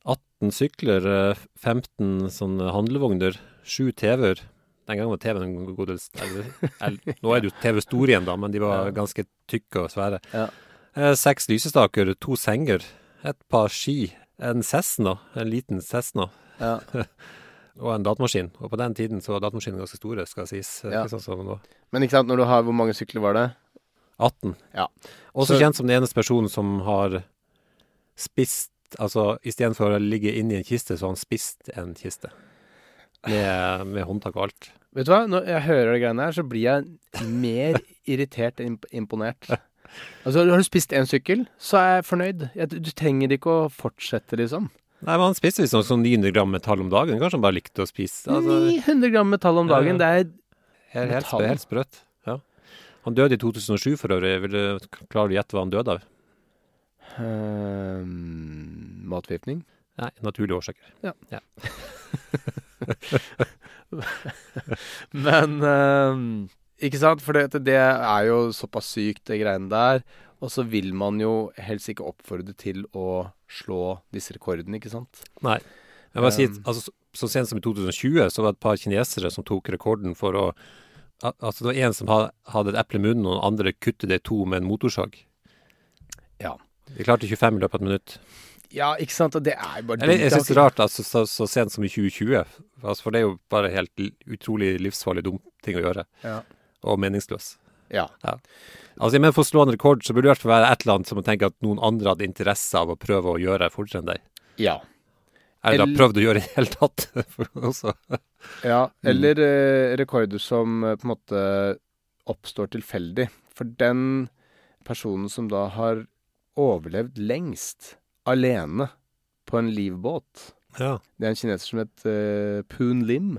Speaker 2: 18 sykler, eh, 15 sånne handlevogner, 7 TV-er. Den gangen var TV-en en god del st- eller- eller, Nå er det jo TV store igjen, da, men de var
Speaker 1: Ja.
Speaker 2: ganske tykke og svære.
Speaker 1: Ja.
Speaker 2: Eh, seks lysestaker, to senger, et par ski, en Cessna, en liten Cessna,
Speaker 1: Ja.
Speaker 2: og en datamaskin. Og på den tiden så var datamaskiner ganske store, skal sies.
Speaker 1: Ja.
Speaker 2: Ja. Ikke sånn som nå.
Speaker 1: Men ikke sant, når du har Hvor mange sykler var det?
Speaker 2: 18.
Speaker 1: Ja.
Speaker 2: Også
Speaker 1: Så-
Speaker 2: kjent som den eneste personen som har spist Altså istedenfor å ligge inni en kiste, så har han spist en kiste. Med, med håndtak og alt.
Speaker 1: Vet du hva, når jeg hører de greiene her, så blir jeg mer irritert enn imp- imponert. Altså, har du spist én sykkel, så er jeg fornøyd. Jeg, du trenger ikke å fortsette, liksom.
Speaker 2: Nei, men han spiste liksom sånn 900 gram metall om dagen. Kanskje han bare likte å spise altså,
Speaker 1: 900 gram metall om
Speaker 2: Ja, ja.
Speaker 1: dagen, det er
Speaker 2: helt, helt,
Speaker 1: metall.
Speaker 2: sprø- helt sprøtt. Ja. Han døde i 2007 for øvrig. Vil du klare å gjette hva han døde av?
Speaker 1: Eh. ehm, Matforgiftning?
Speaker 2: Nei, naturlige årsaker.
Speaker 1: Men
Speaker 2: Um.
Speaker 1: ehm, Ikke sant? For det, det er jo såpass sykt, det greiene der. Og så vil man jo helst ikke oppfordre til å slå disse rekordene, ikke sant?
Speaker 2: Nei. Jeg må si, at,
Speaker 1: Um,
Speaker 2: altså, så, så sent som i 2020 så var det et par kinesere som tok rekorden for å al- Altså det var en som ha- hadde et eple i munnen, og den andre kuttet det i to med en motorsag.
Speaker 1: Ja.
Speaker 2: De klarte 25 i løpet av et minutt.
Speaker 1: Ja, ikke sant? Og det er jo bare
Speaker 2: Eller jeg
Speaker 1: dumt.
Speaker 2: syns det er rart, altså, så, så sent som i 2020. Altså, for det er jo bare helt l- utrolig livsfarlig dum ting å gjøre.
Speaker 1: Ja.
Speaker 2: Og meningsløs.
Speaker 1: Ja.
Speaker 2: Altså, jeg mener For å slå en rekord så burde det i hvert fall være et eller annet som å tenke at noen andre hadde interesse av å prøve å gjøre fortere enn deg.
Speaker 1: ja.
Speaker 2: Eller
Speaker 1: Eller-
Speaker 2: har prøvd å gjøre i det hele tatt. for også.
Speaker 1: Ja,
Speaker 2: Mm.
Speaker 1: eller eh, rekorder som eh, på en måte oppstår tilfeldig. For den personen som da har overlevd lengst alene på en livbåt,
Speaker 2: Ja.
Speaker 1: det er en kineser som heter eh, Poon Lim.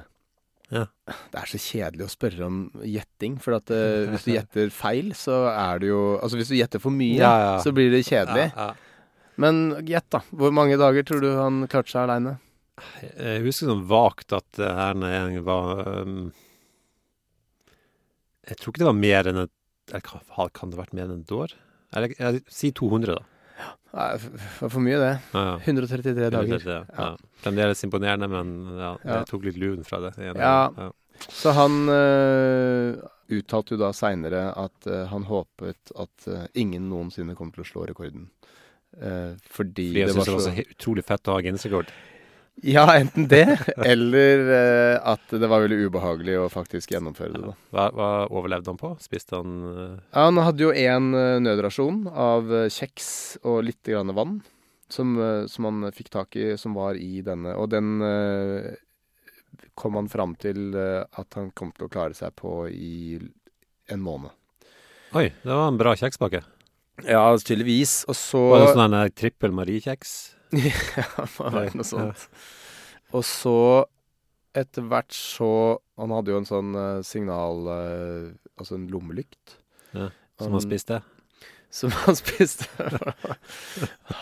Speaker 2: Ja.
Speaker 1: Det er så kjedelig å spørre om gjetting, for at eh, hvis du gjetter feil, så er det jo Altså hvis du gjetter for mye,
Speaker 2: Ja, ja.
Speaker 1: så blir det kjedelig.
Speaker 2: Ja, ja.
Speaker 1: Men gjett, da. Hvor mange dager tror du han klarte seg aleine?
Speaker 2: Jeg husker sånn vagt at det her en gang var um, Jeg tror ikke det var mer enn et eller kan- ha- Kan det ha vært mer enn et år? Eller jeg, si 200, da.
Speaker 1: Nei, f- for mye, det.
Speaker 2: Ja, ja.
Speaker 1: 133 dager.
Speaker 2: Det, det, ja. Fremdeles imponerende, men ja,
Speaker 1: Ja.
Speaker 2: jeg tok litt luven fra det. ene.
Speaker 1: Ja. Så han eh, uttalte jo da seinere at eh, han håpet at eh, ingen noensinne kom til å slå rekorden. Eh, fordi
Speaker 2: Fordi jeg
Speaker 1: det
Speaker 2: syns
Speaker 1: var
Speaker 2: det var så
Speaker 1: så
Speaker 2: he- utrolig fett å ha Guinness-rekord.
Speaker 1: Ja, enten det, eller eh, at det var veldig ubehagelig å faktisk gjennomføre det, da.
Speaker 2: Hva, hva overlevde han på? Spiste han eh,
Speaker 1: Ja, han hadde jo én nødrasjon av eh, kjeks og litt grann vann som, eh, som han fikk tak i, som var i denne. Og den eh, kom han fram til eh, at han kom til å klare seg på i en måned.
Speaker 2: Oi, det var en bra kjekspakke.
Speaker 1: Ja, altså, tydeligvis. Og så
Speaker 2: Var det sånn en trippel Marie-kjeks?
Speaker 1: Ja, det må ha vært noe sånt. Og så etter hvert så Han hadde jo en sånn eh, signal eh, Altså en lommelykt
Speaker 2: Ja, som
Speaker 1: Um,
Speaker 2: han spiste?
Speaker 1: Som han spiste.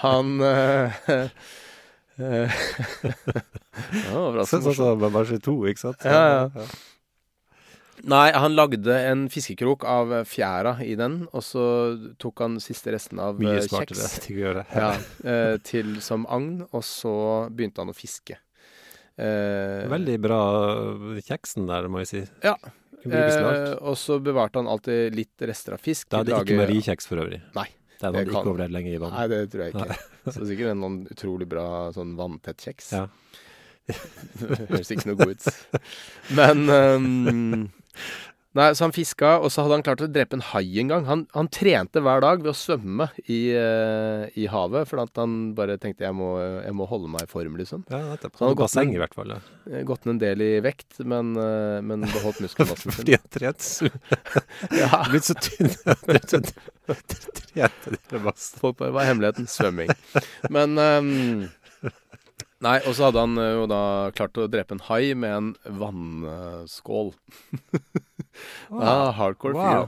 Speaker 1: han eh, eh, Det var bra som
Speaker 2: Sånn
Speaker 1: morsomt.
Speaker 2: som Babashi 2, ikke sant?
Speaker 1: Ja, Nei, han lagde en fiskekrok av eh, fjæra i den, og så tok han siste resten av eh,
Speaker 2: Mye smartere
Speaker 1: kjeks.
Speaker 2: ting å gjøre.
Speaker 1: ja, eh, til som agn, og så begynte han å fiske. Eh,
Speaker 2: Veldig bra øh, kjeksen der, må jeg si.
Speaker 1: Ja.
Speaker 2: Kan brukes til alt.
Speaker 1: Eh, og så bevarte han alltid litt rester av fisk.
Speaker 2: Da
Speaker 1: til
Speaker 2: er det
Speaker 1: å
Speaker 2: ikke
Speaker 1: lage-
Speaker 2: Marie-kjeks for øvrig.
Speaker 1: Nei.
Speaker 2: Den
Speaker 1: Det
Speaker 2: hadde
Speaker 1: kan-
Speaker 2: ikke overlevd lenge i vann.
Speaker 1: Nei, det tror jeg ikke. Så sikkert en noen utrolig bra sånn vanntett kjeks.
Speaker 2: Ja.
Speaker 1: Høres ikke noe god ut. Men ehm, Nei, så han fiska, og så hadde han klart å drepe en hai en gang. Han, han trente hver dag ved å svømme i, eh, i havet, for at han bare tenkte jeg må, jeg må holde meg i form, liksom.
Speaker 2: Ja, nettopp. Han
Speaker 1: Så han har
Speaker 2: hadde
Speaker 1: gått med-
Speaker 2: basseng, i hvert fall. Ja.
Speaker 1: Eh, Gått ned en del i vekt, men, eh, men beholdt muskelmassen sin.
Speaker 2: Fordi han trente så
Speaker 1: Ja.
Speaker 2: Blitt så tynn at han trente det masse.
Speaker 1: Folk bare, Hva er hemmeligheten? Svømming. Men ehm, Nei, og så hadde han eh, jo da klart å drepe en hai med en vannskål. Ah, hardcore fyr.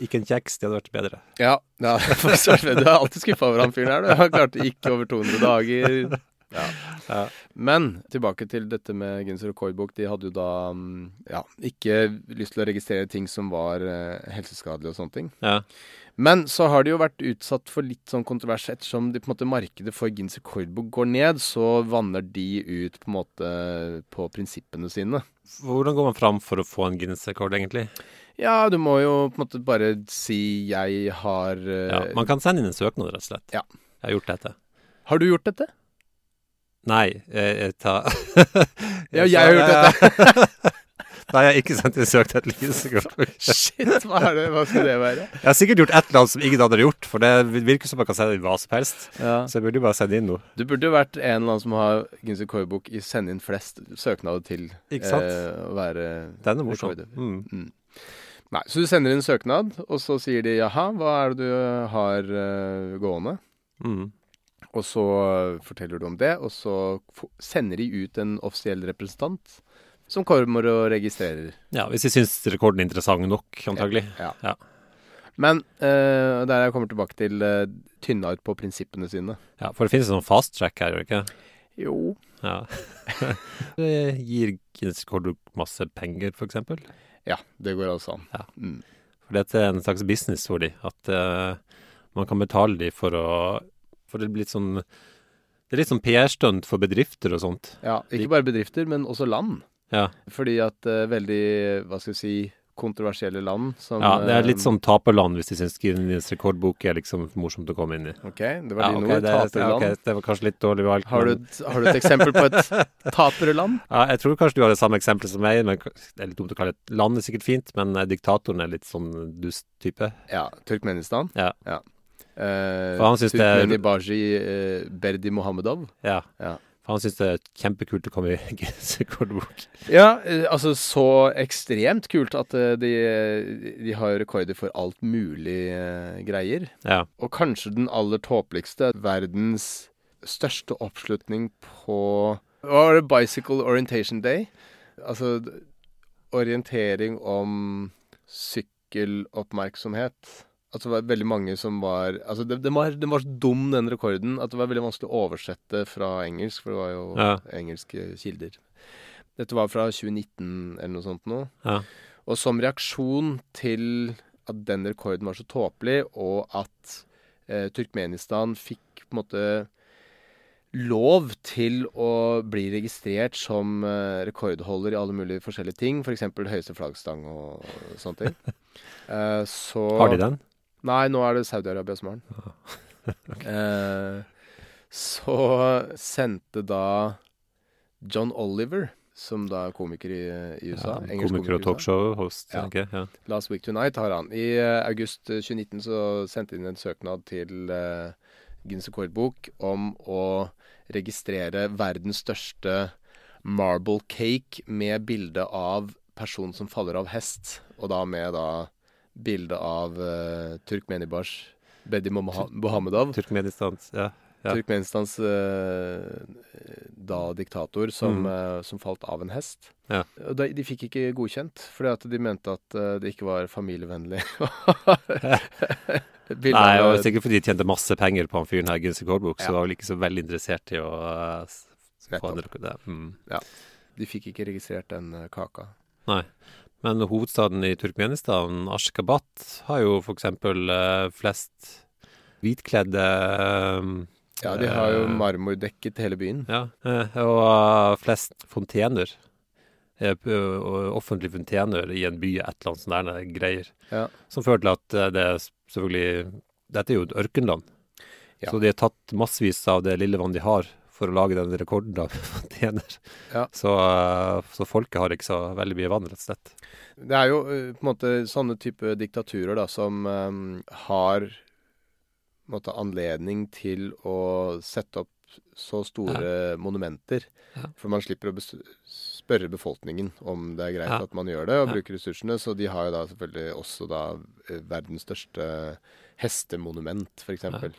Speaker 2: Ikke en kjeks, det hadde vært bedre.
Speaker 1: Ja, ja for søren, Du er alltid skuffa over han fyren her. Du Han klarte ikke over 200 dager. Ja.
Speaker 2: Ja.
Speaker 1: Men tilbake til dette med Guinness rekordbok. De hadde jo da mm, ja, ikke lyst til å registrere ting som var eh, helseskadelige og sånne ting.
Speaker 2: Ja.
Speaker 1: Men så har de jo vært utsatt for litt sånn kontrovers ettersom de på en måte markedet for Guinness Rekordbok går ned, så vanner de ut på en måte på prinsippene sine.
Speaker 2: Hvordan går man fram for å få en Guinness-rekord, egentlig?
Speaker 1: Ja, du må jo på en måte bare si 'jeg har eh,
Speaker 2: Ja, man kan sende inn en søknad, rett og slett.
Speaker 1: Ja.
Speaker 2: Jeg har gjort dette.
Speaker 1: Har du gjort dette?
Speaker 2: Nei, jeg, jeg tar
Speaker 1: Ja, jeg har gjort
Speaker 2: dette. Nei, jeg har ikke sendt inn søknad til Guinness-rekord.
Speaker 1: Shit, hva, er det? hva skal det være?
Speaker 2: Jeg har sikkert gjort et eller annet som ingen andre har gjort, for det virker som man kan sende inn hva som helst.
Speaker 1: Ja.
Speaker 2: Så jeg burde jo bare sende inn noe.
Speaker 1: Du burde jo vært en eller annen som har Guinness Rekordbok i sende inn flest søknader til
Speaker 2: Ikke sant?
Speaker 1: eh, å være
Speaker 2: Den er morsom.
Speaker 1: rekorder.
Speaker 2: Mm.
Speaker 1: Nei, så du sender inn søknad, og så sier de 'jaha, hva er det du har eh, gående'?
Speaker 2: Mm.
Speaker 1: Og så øh, forteller du om det, og så f- sender de ut en offisiell representant som kommer og registrerer.
Speaker 2: Ja, hvis de syns rekorden er interessant nok, antagelig.
Speaker 1: Ja.
Speaker 2: Ja.
Speaker 1: Men øh, der jeg kommer tilbake til øh, tynna ut på prinsippene sine.
Speaker 2: Ja, For det finnes en sånn fast track her, gjør det ikke? det?
Speaker 1: Jo.
Speaker 2: Ja. det gir Guinness rekord masse penger, f.eks. For, eksempel.
Speaker 1: Ja, det går altså an.
Speaker 2: for dette er en slags business for de, at eh, man kan betale de for å For det blir litt sånn Det er litt sånn PR-stunt for bedrifter og sånt.
Speaker 1: Ja, ikke bare bedrifter, men også land.
Speaker 2: Ja.
Speaker 1: Fordi at øh, veldig, hva skal vi si, kontroversielle land som
Speaker 2: ja det er
Speaker 1: øh,
Speaker 2: litt sånn taperland hvis de syns Guinness rekordbok er liksom morsomt å komme inn i.
Speaker 1: eh, Ok, det var
Speaker 2: Ja,
Speaker 1: dine
Speaker 2: ok,
Speaker 1: ord.
Speaker 2: det, er-
Speaker 1: Taperland.
Speaker 2: ok, det var kanskje litt dårlig valgt.
Speaker 1: Har, du
Speaker 2: men-
Speaker 1: et, har du et eksempel på et taperland?
Speaker 2: Ja, jeg tror kanskje du har det samme eksempelet som meg, men k- det er litt dumt å kalle det land er sikkert fint, men eh, diktatoren er litt sånn dust type.
Speaker 1: Ja, Turkmenistan.
Speaker 2: Ja.
Speaker 1: Eh,
Speaker 2: For han synes det er-
Speaker 1: Turkmeni Baji eh, Berdi Mohammedov.
Speaker 2: Ja.
Speaker 1: Ja.
Speaker 2: For han syns det er kjempekult å komme i Guinness rekordbok.
Speaker 1: Ja, eh, altså så ekstremt kult at eh, de, de har rekorder for alt mulig eh, greier.
Speaker 2: Ja.
Speaker 1: Og kanskje den aller tåpeligste, verdens største oppslutning på Hva var det? Bicycle Orientation Day? Altså d- orientering om sykkeloppmerksomhet. At det var veldig mange som var Altså, det, det var, den var så dum, den rekorden, at det var veldig vanskelig å oversette fra engelsk, for det var jo
Speaker 2: Ja.
Speaker 1: engelske kilder. Dette var fra 2019 eller noe sånt nå.
Speaker 2: Ja.
Speaker 1: Og som reaksjon til at den rekorden var så tåpelig, og at eh, Turkmenistan fikk på en måte lov til å bli registrert som eh, rekordholder i alle mulige forskjellige ting, f.eks. eksempel høyeste flaggstang og, og sånne ting. Eh, så
Speaker 2: Har de den?
Speaker 1: Nei, nå er det Saudi-Arabia som har den.
Speaker 2: Ah.
Speaker 1: eh, så sendte da John Oliver, som da er komiker i, i USA
Speaker 2: Ja,
Speaker 1: engelsk
Speaker 2: komiker og
Speaker 1: i USA.
Speaker 2: talkshow-host,
Speaker 1: Ja.
Speaker 2: tenker jeg. Ja.
Speaker 1: Last Week Tonight har han. I eh, august eh, 2019 så sendte de inn en søknad til uh, Guinness rekordbok om å registrere verdens største marble cake med bilde av person som faller av hest, og da med da bilde av uh, Turkmenibars Bedi Mohammedov.
Speaker 2: Turkmenistan. Ja. ja.
Speaker 1: Turkmenistans eh, da diktator som, eh, som falt av en hest.
Speaker 2: Mm. Ja.
Speaker 1: Og De, de fikk ikke godkjent, fordi at de mente at eh, det ikke var familievennlig. Bildet
Speaker 2: Nei,
Speaker 1: av-
Speaker 2: og sikkert fordi de tjente masse penger på han fyren her, Guinness rekordbok, så var vel ikke så veldig interessert i å eh, s- få en
Speaker 1: Nettopp.
Speaker 2: rekord. der. Mm.
Speaker 1: De fikk ikke registrert den eh, kaka.
Speaker 2: Nei. Men hovedstaden i Turkmenistan, Ashkabat, har jo f.eks. Uh, flest hvitkledde eh,
Speaker 1: Ja, de har jo
Speaker 2: Eh.
Speaker 1: marmordekket hele byen.
Speaker 2: Ja, eh, og eh, flest fontener. eh, p- og Offentlige fontener i en by, et eller annet sånt der greier.
Speaker 1: Ja.
Speaker 2: Som fører til at eh, det er s- selvfølgelig dette er jo et ørkenland.
Speaker 1: Ja.
Speaker 2: Så de har tatt massevis av det lille vann de har, for å lage den rekorden da man tjener.
Speaker 1: Ja.
Speaker 2: Så, eh, så folket har ikke så veldig mye vann, rett og slett.
Speaker 1: Det er jo eh, på en måte sånne type diktaturer da, som eh, har på en måte, anledning til å sette opp så store monumenter.
Speaker 2: Ja.
Speaker 1: For man slipper å bes- spørre befolkningen om det er greit
Speaker 2: Ja.
Speaker 1: at man gjør det, og
Speaker 2: Ja.
Speaker 1: bruker ressursene. Så de har jo da selvfølgelig også da eh, verdens største hestemonument, f.eks. eksempel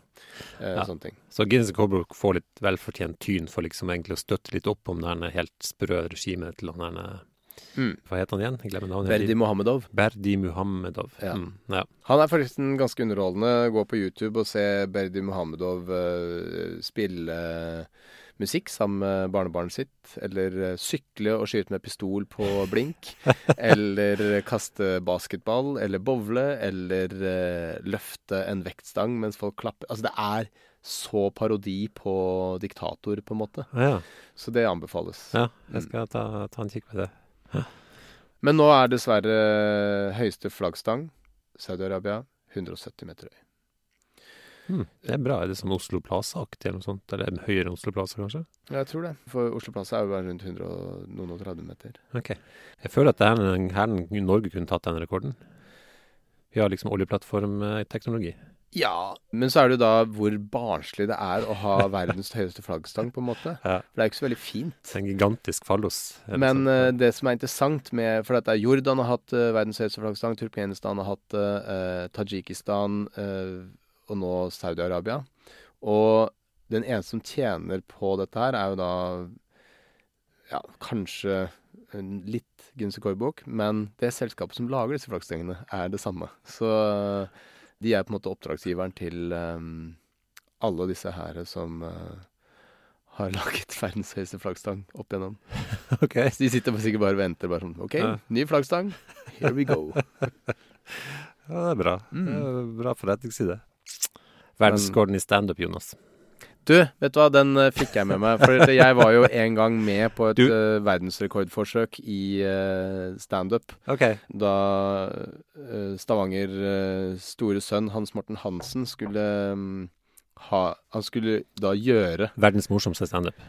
Speaker 1: Eh,
Speaker 2: Ja.
Speaker 1: Sånne ting.
Speaker 2: Så Guinness Corbrook får litt velfortjent tyn for liksom egentlig å støtte litt opp om det her helt sprø regimet til han her eh,
Speaker 1: Mm.
Speaker 2: Hva het han igjen? Jeg glemmer navnet. hele
Speaker 1: Verdi
Speaker 2: tiden.
Speaker 1: Mohammedov.
Speaker 2: Berdi Muhammedov.
Speaker 1: Ja.
Speaker 2: Mm, ja.
Speaker 1: Han er forresten ganske underholdende. Gå på YouTube og se Berdi Mohammedov eh, spille eh, musikk sammen med barnebarnet sitt. Eller eh, sykle og skyte med pistol på blink. eller kaste basketball. Eller bowle. Eller eh, løfte en vektstang mens folk klapper. Altså, det er så parodi på diktator, på en måte.
Speaker 2: Ah, ja.
Speaker 1: Så det anbefales.
Speaker 2: ja, jeg skal ta, ta en kikk på det.
Speaker 1: Men nå er dessverre høyeste flaggstang Saudi-Arabia 170 meter høy.
Speaker 2: Mm, det er bra. Er det sånn Oslo Plaza-aktig eller noe sånt? Eller høyere enn Oslo Plaza, kanskje?
Speaker 1: Ja, jeg tror det. For Oslo Plaza er jo bare rundt 100 og noen og 30 meter.
Speaker 2: Ok. Jeg føler at det her, her Norge kunne tatt den rekorden. Vi har liksom oljeplattformteknologi.
Speaker 1: Ja. Men så er det jo da hvor barnslig det er å ha verdens høyeste flaggstang, på en måte.
Speaker 2: Ja.
Speaker 1: For det er jo ikke så veldig fint.
Speaker 2: En gigantisk fallos. er det sånn?
Speaker 1: Men
Speaker 2: sant?
Speaker 1: eh, det som er interessant med For dette er Jordan har hatt eh, verdens høyeste flaggstang, Turkmenistan har hatt det, eh, Tadsjikistan eh, og nå Saudi-Arabia. Og den eneste som tjener på dette her, er jo da ja, kanskje en litt Gunse Kårbok, men det selskapet som lager disse flaggstengene, er det samme. Så eh, de er på en måte oppdragsgiveren til eh, alle disse her som eh, har laget verdens høyeste flaggstang opp igjennom.
Speaker 2: Ok.
Speaker 1: Så de sitter bare- sikkert bare og venter. bare sånn, OK,
Speaker 2: Ja.
Speaker 1: ny flaggstang. Here we go.
Speaker 2: Ja, det er bra. Det er
Speaker 1: Mm.
Speaker 2: bra forretningsside. Verdensrekorden i standup, Jonas.
Speaker 1: Du, vet du hva, den eh, fikk jeg med meg. For jeg var jo en gang med på et
Speaker 2: Du-
Speaker 1: eh, verdensrekordforsøk i eh, standup.
Speaker 2: Ok.
Speaker 1: Da eh, Stavanger eh, store sønn, Hans Morten Hansen, skulle mm, ha Han skulle da gjøre
Speaker 2: Verdens morsomste standup.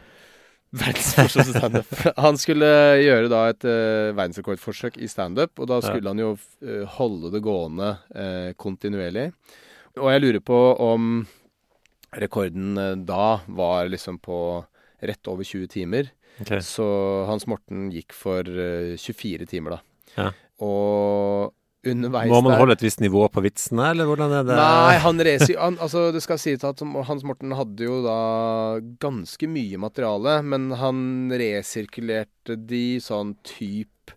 Speaker 1: Verdens morsomste standup. Han skulle gjøre da et eh, verdensrekordforsøk i standup, og da skulle han jo eh, holde det gående eh, kontinuerlig. Og jeg lurer på om rekorden eh, da var liksom på rett over 20 timer.
Speaker 2: Ok.
Speaker 1: Så Hans Morten gikk for eh, 24 timer, da.
Speaker 2: Ja.
Speaker 1: Og underveis
Speaker 2: Må man
Speaker 1: der-
Speaker 2: holde et visst nivå på vitsene, eller hvordan er det?
Speaker 1: Nei, han reiser han, altså, Det skal sies at som- Hans Morten hadde jo da ganske mye materiale, men han resirkulerte de sånn typ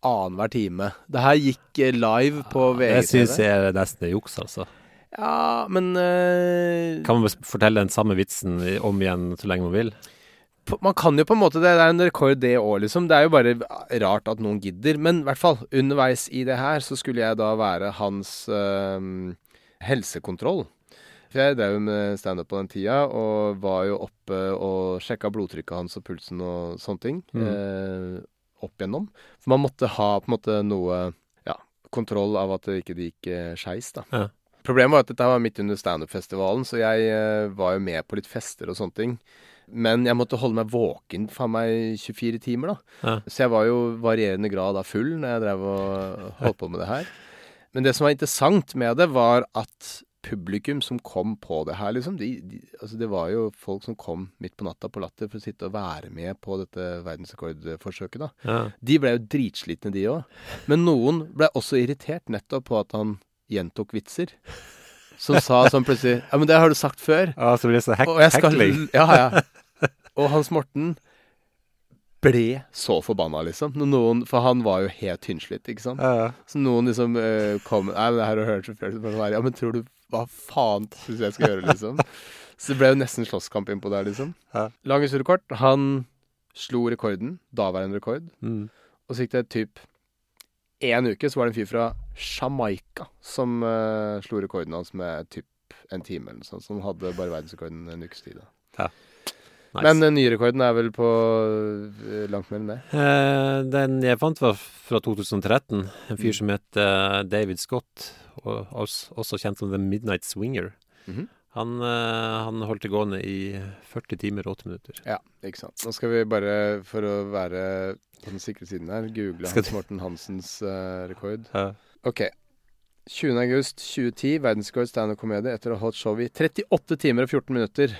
Speaker 1: annenhver time. Det her gikk eh, live på
Speaker 2: Det syns
Speaker 1: VGTV.
Speaker 2: jeg er nesten er juks, altså.
Speaker 1: Ja, men eh,
Speaker 2: Kan man bes- fortelle den samme vitsen i- om igjen så lenge man vil?
Speaker 1: på- man kan jo på en måte det. Det er en rekord det òg, liksom. Det er jo bare rart at noen gidder. Men i hvert fall, underveis i det her så skulle jeg da være hans øhm, helsekontroll. For jeg drev jo med standup på den tida, og var jo oppe og sjekka blodtrykket hans og pulsen og sånne ting. eh, opp igjennom. For man måtte ha på en måte noe ja, kontroll av at det ikke det gikk eh, skeis, da.
Speaker 2: Ja.
Speaker 1: Problemet var at dette var midt under standup-festivalen, så jeg eh, var jo med på litt fester og sånne ting. Men jeg måtte holde meg våken faen meg 24 timer, da.
Speaker 2: Ja.
Speaker 1: Så jeg var jo varierende grad av full når jeg drev og holdt på med det her. Men det som var interessant med det, var at publikum som kom på det her, liksom de, de, altså Det var jo folk som kom midt på natta på Latter for å sitte og være med på dette verdensrekordforsøket, da.
Speaker 2: Ja.
Speaker 1: De ble jo dritslitne, de òg. Men noen ble også irritert nettopp på at han gjentok vitser. Som sa sånn plutselig Ja, men det har du sagt før.
Speaker 2: Ja, så blir det så hek
Speaker 1: Og jeg skal
Speaker 2: hekling.
Speaker 1: Ja, ja. Og Hans Morten ble så forbanna, liksom. Når noen, for han var jo helt tynnslitt, ikke sant.
Speaker 2: Ja, ja.
Speaker 1: Så noen liksom eh, kom Nei, men det her har du hørt så før. Så bare, Ja, men tror du Hva faen syns jeg skal gjøre, liksom? Så det ble jo nesten slåsskamp innpå der, liksom.
Speaker 2: Ja.
Speaker 1: Lang historie kort. Han slo rekorden. Daværende rekord.
Speaker 2: Mm.
Speaker 1: Og så gikk det typ én uke, så var det en fyr fra Jamaica som eh, slo rekorden hans med typ en time eller noe sånt. Som hadde bare verdensrekorden en ukes tid. Da.
Speaker 2: Nice.
Speaker 1: Men eh, den nye rekorden er vel på eh, langt mer enn det. Mm.
Speaker 2: Eh, den jeg fant var fra 2013. En fyr som het eh, David Scott. og als- også kjent som The Midnight Swinger.
Speaker 1: Mhm.
Speaker 2: Han, eh, han holdt det gående i 40 timer og 8 minutter.
Speaker 1: Ja, ikke sant. Nå skal vi bare, for å være på den sikre siden her, google
Speaker 2: Skal
Speaker 1: Hans
Speaker 2: du-
Speaker 1: Morten Hansens eh, rekord.
Speaker 2: Eh,
Speaker 1: Ok. 20. august 2010, verdensrekord standup-komedie etter å ha holdt show i 38 timer og 14 minutter,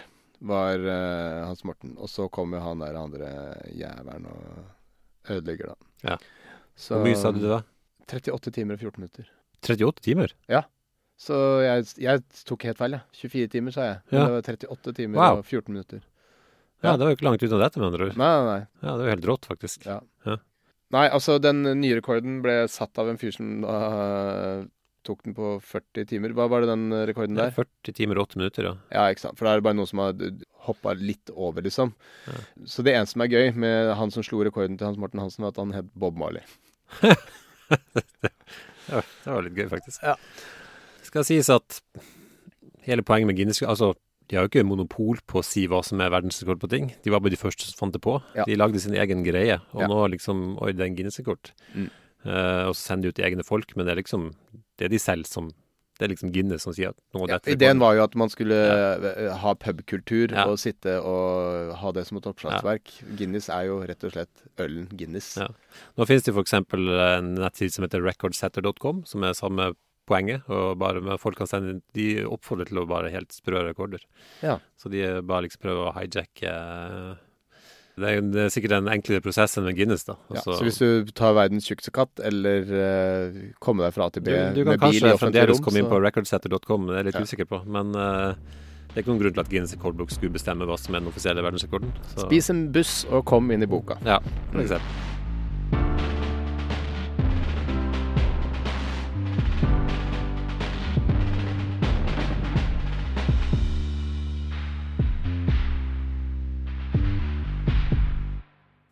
Speaker 1: var eh, Hans Morten. Og så kom jo han der andre jævelen og ødelegger, da.
Speaker 2: Ja.
Speaker 1: Så
Speaker 2: Hvor mye sa du det var?
Speaker 1: 38 timer og 14 minutter.
Speaker 2: 38 timer?
Speaker 1: Så jeg, jeg tok helt feil, jeg. 24 timer, sa jeg. Men
Speaker 2: Ja.
Speaker 1: det var 38 timer
Speaker 2: Wow.
Speaker 1: og 14 minutter.
Speaker 2: Ja,
Speaker 1: Ja.
Speaker 2: det var jo ikke langt unna dette, med andre ord.
Speaker 1: Nei, nei, nei.
Speaker 2: Ja, det er jo helt rått, faktisk.
Speaker 1: Ja. Nei, altså den nye rekorden ble satt av en fyr som da tok den på 40 timer. Hva var det den rekorden
Speaker 2: Det er
Speaker 1: der?
Speaker 2: 40 timer og 8 minutter, ja.
Speaker 1: Ja, ikke sant. For da er det bare noen som har hoppa litt over, liksom. Så det eneste som er gøy med han som slo rekorden til Hans Morten Hansen, var at han het Bob Marley.
Speaker 2: Ja, det var litt gøy, faktisk. Det skal sies at hele poenget med Guinness Altså, de har jo ikke monopol på å si hva som er verdensrekord på ting. De var bare de første som fant det på.
Speaker 1: Ja.
Speaker 2: De lagde sin egen greie, og
Speaker 1: Ja.
Speaker 2: nå liksom Oi, det er en Guinness-rekord.
Speaker 1: Mm.
Speaker 2: Eh, og så sender de ut egne folk, men det er liksom Det er de selv som Det er liksom Guinness som sier at nå er
Speaker 1: Ja,
Speaker 2: dette
Speaker 1: ideen
Speaker 2: rekorden.
Speaker 1: var jo at man skulle eh, ha pubkultur
Speaker 2: Ja.
Speaker 1: og sitte og ha det som et oppslagsverk. Guinness er jo rett og slett ølen Guinness.
Speaker 2: Ja. Nå finnes det f.eks. en nettside som heter recordsetter.com, som er samme poenget. og bare med folk kan sende, De oppfordrer til å bare helt sprø rekorder.
Speaker 1: Ja.
Speaker 2: Så de bare liksom prøver å hijacke eh, det er, det er sikkert en enklere prosess enn med Guinness. da.
Speaker 1: Ja,
Speaker 2: Altså,
Speaker 1: så hvis du tar verdens tjukkeste katt, eller eh, komme deg fra A til
Speaker 2: du,
Speaker 1: B
Speaker 2: du kan
Speaker 1: med bil i
Speaker 2: kanskje
Speaker 1: offentlig
Speaker 2: fremdeles
Speaker 1: rom,
Speaker 2: komme inn
Speaker 1: så-
Speaker 2: på recordsetter.com, det er jeg litt
Speaker 1: Ja.
Speaker 2: usikker på. Men eh, det er ikke noen grunn til at Guinness rekordbok skulle bestemme hva som er den offisielle verdensrekorden. Så,
Speaker 1: Spis en buss og kom inn i boka.
Speaker 2: Ja, for eksempel.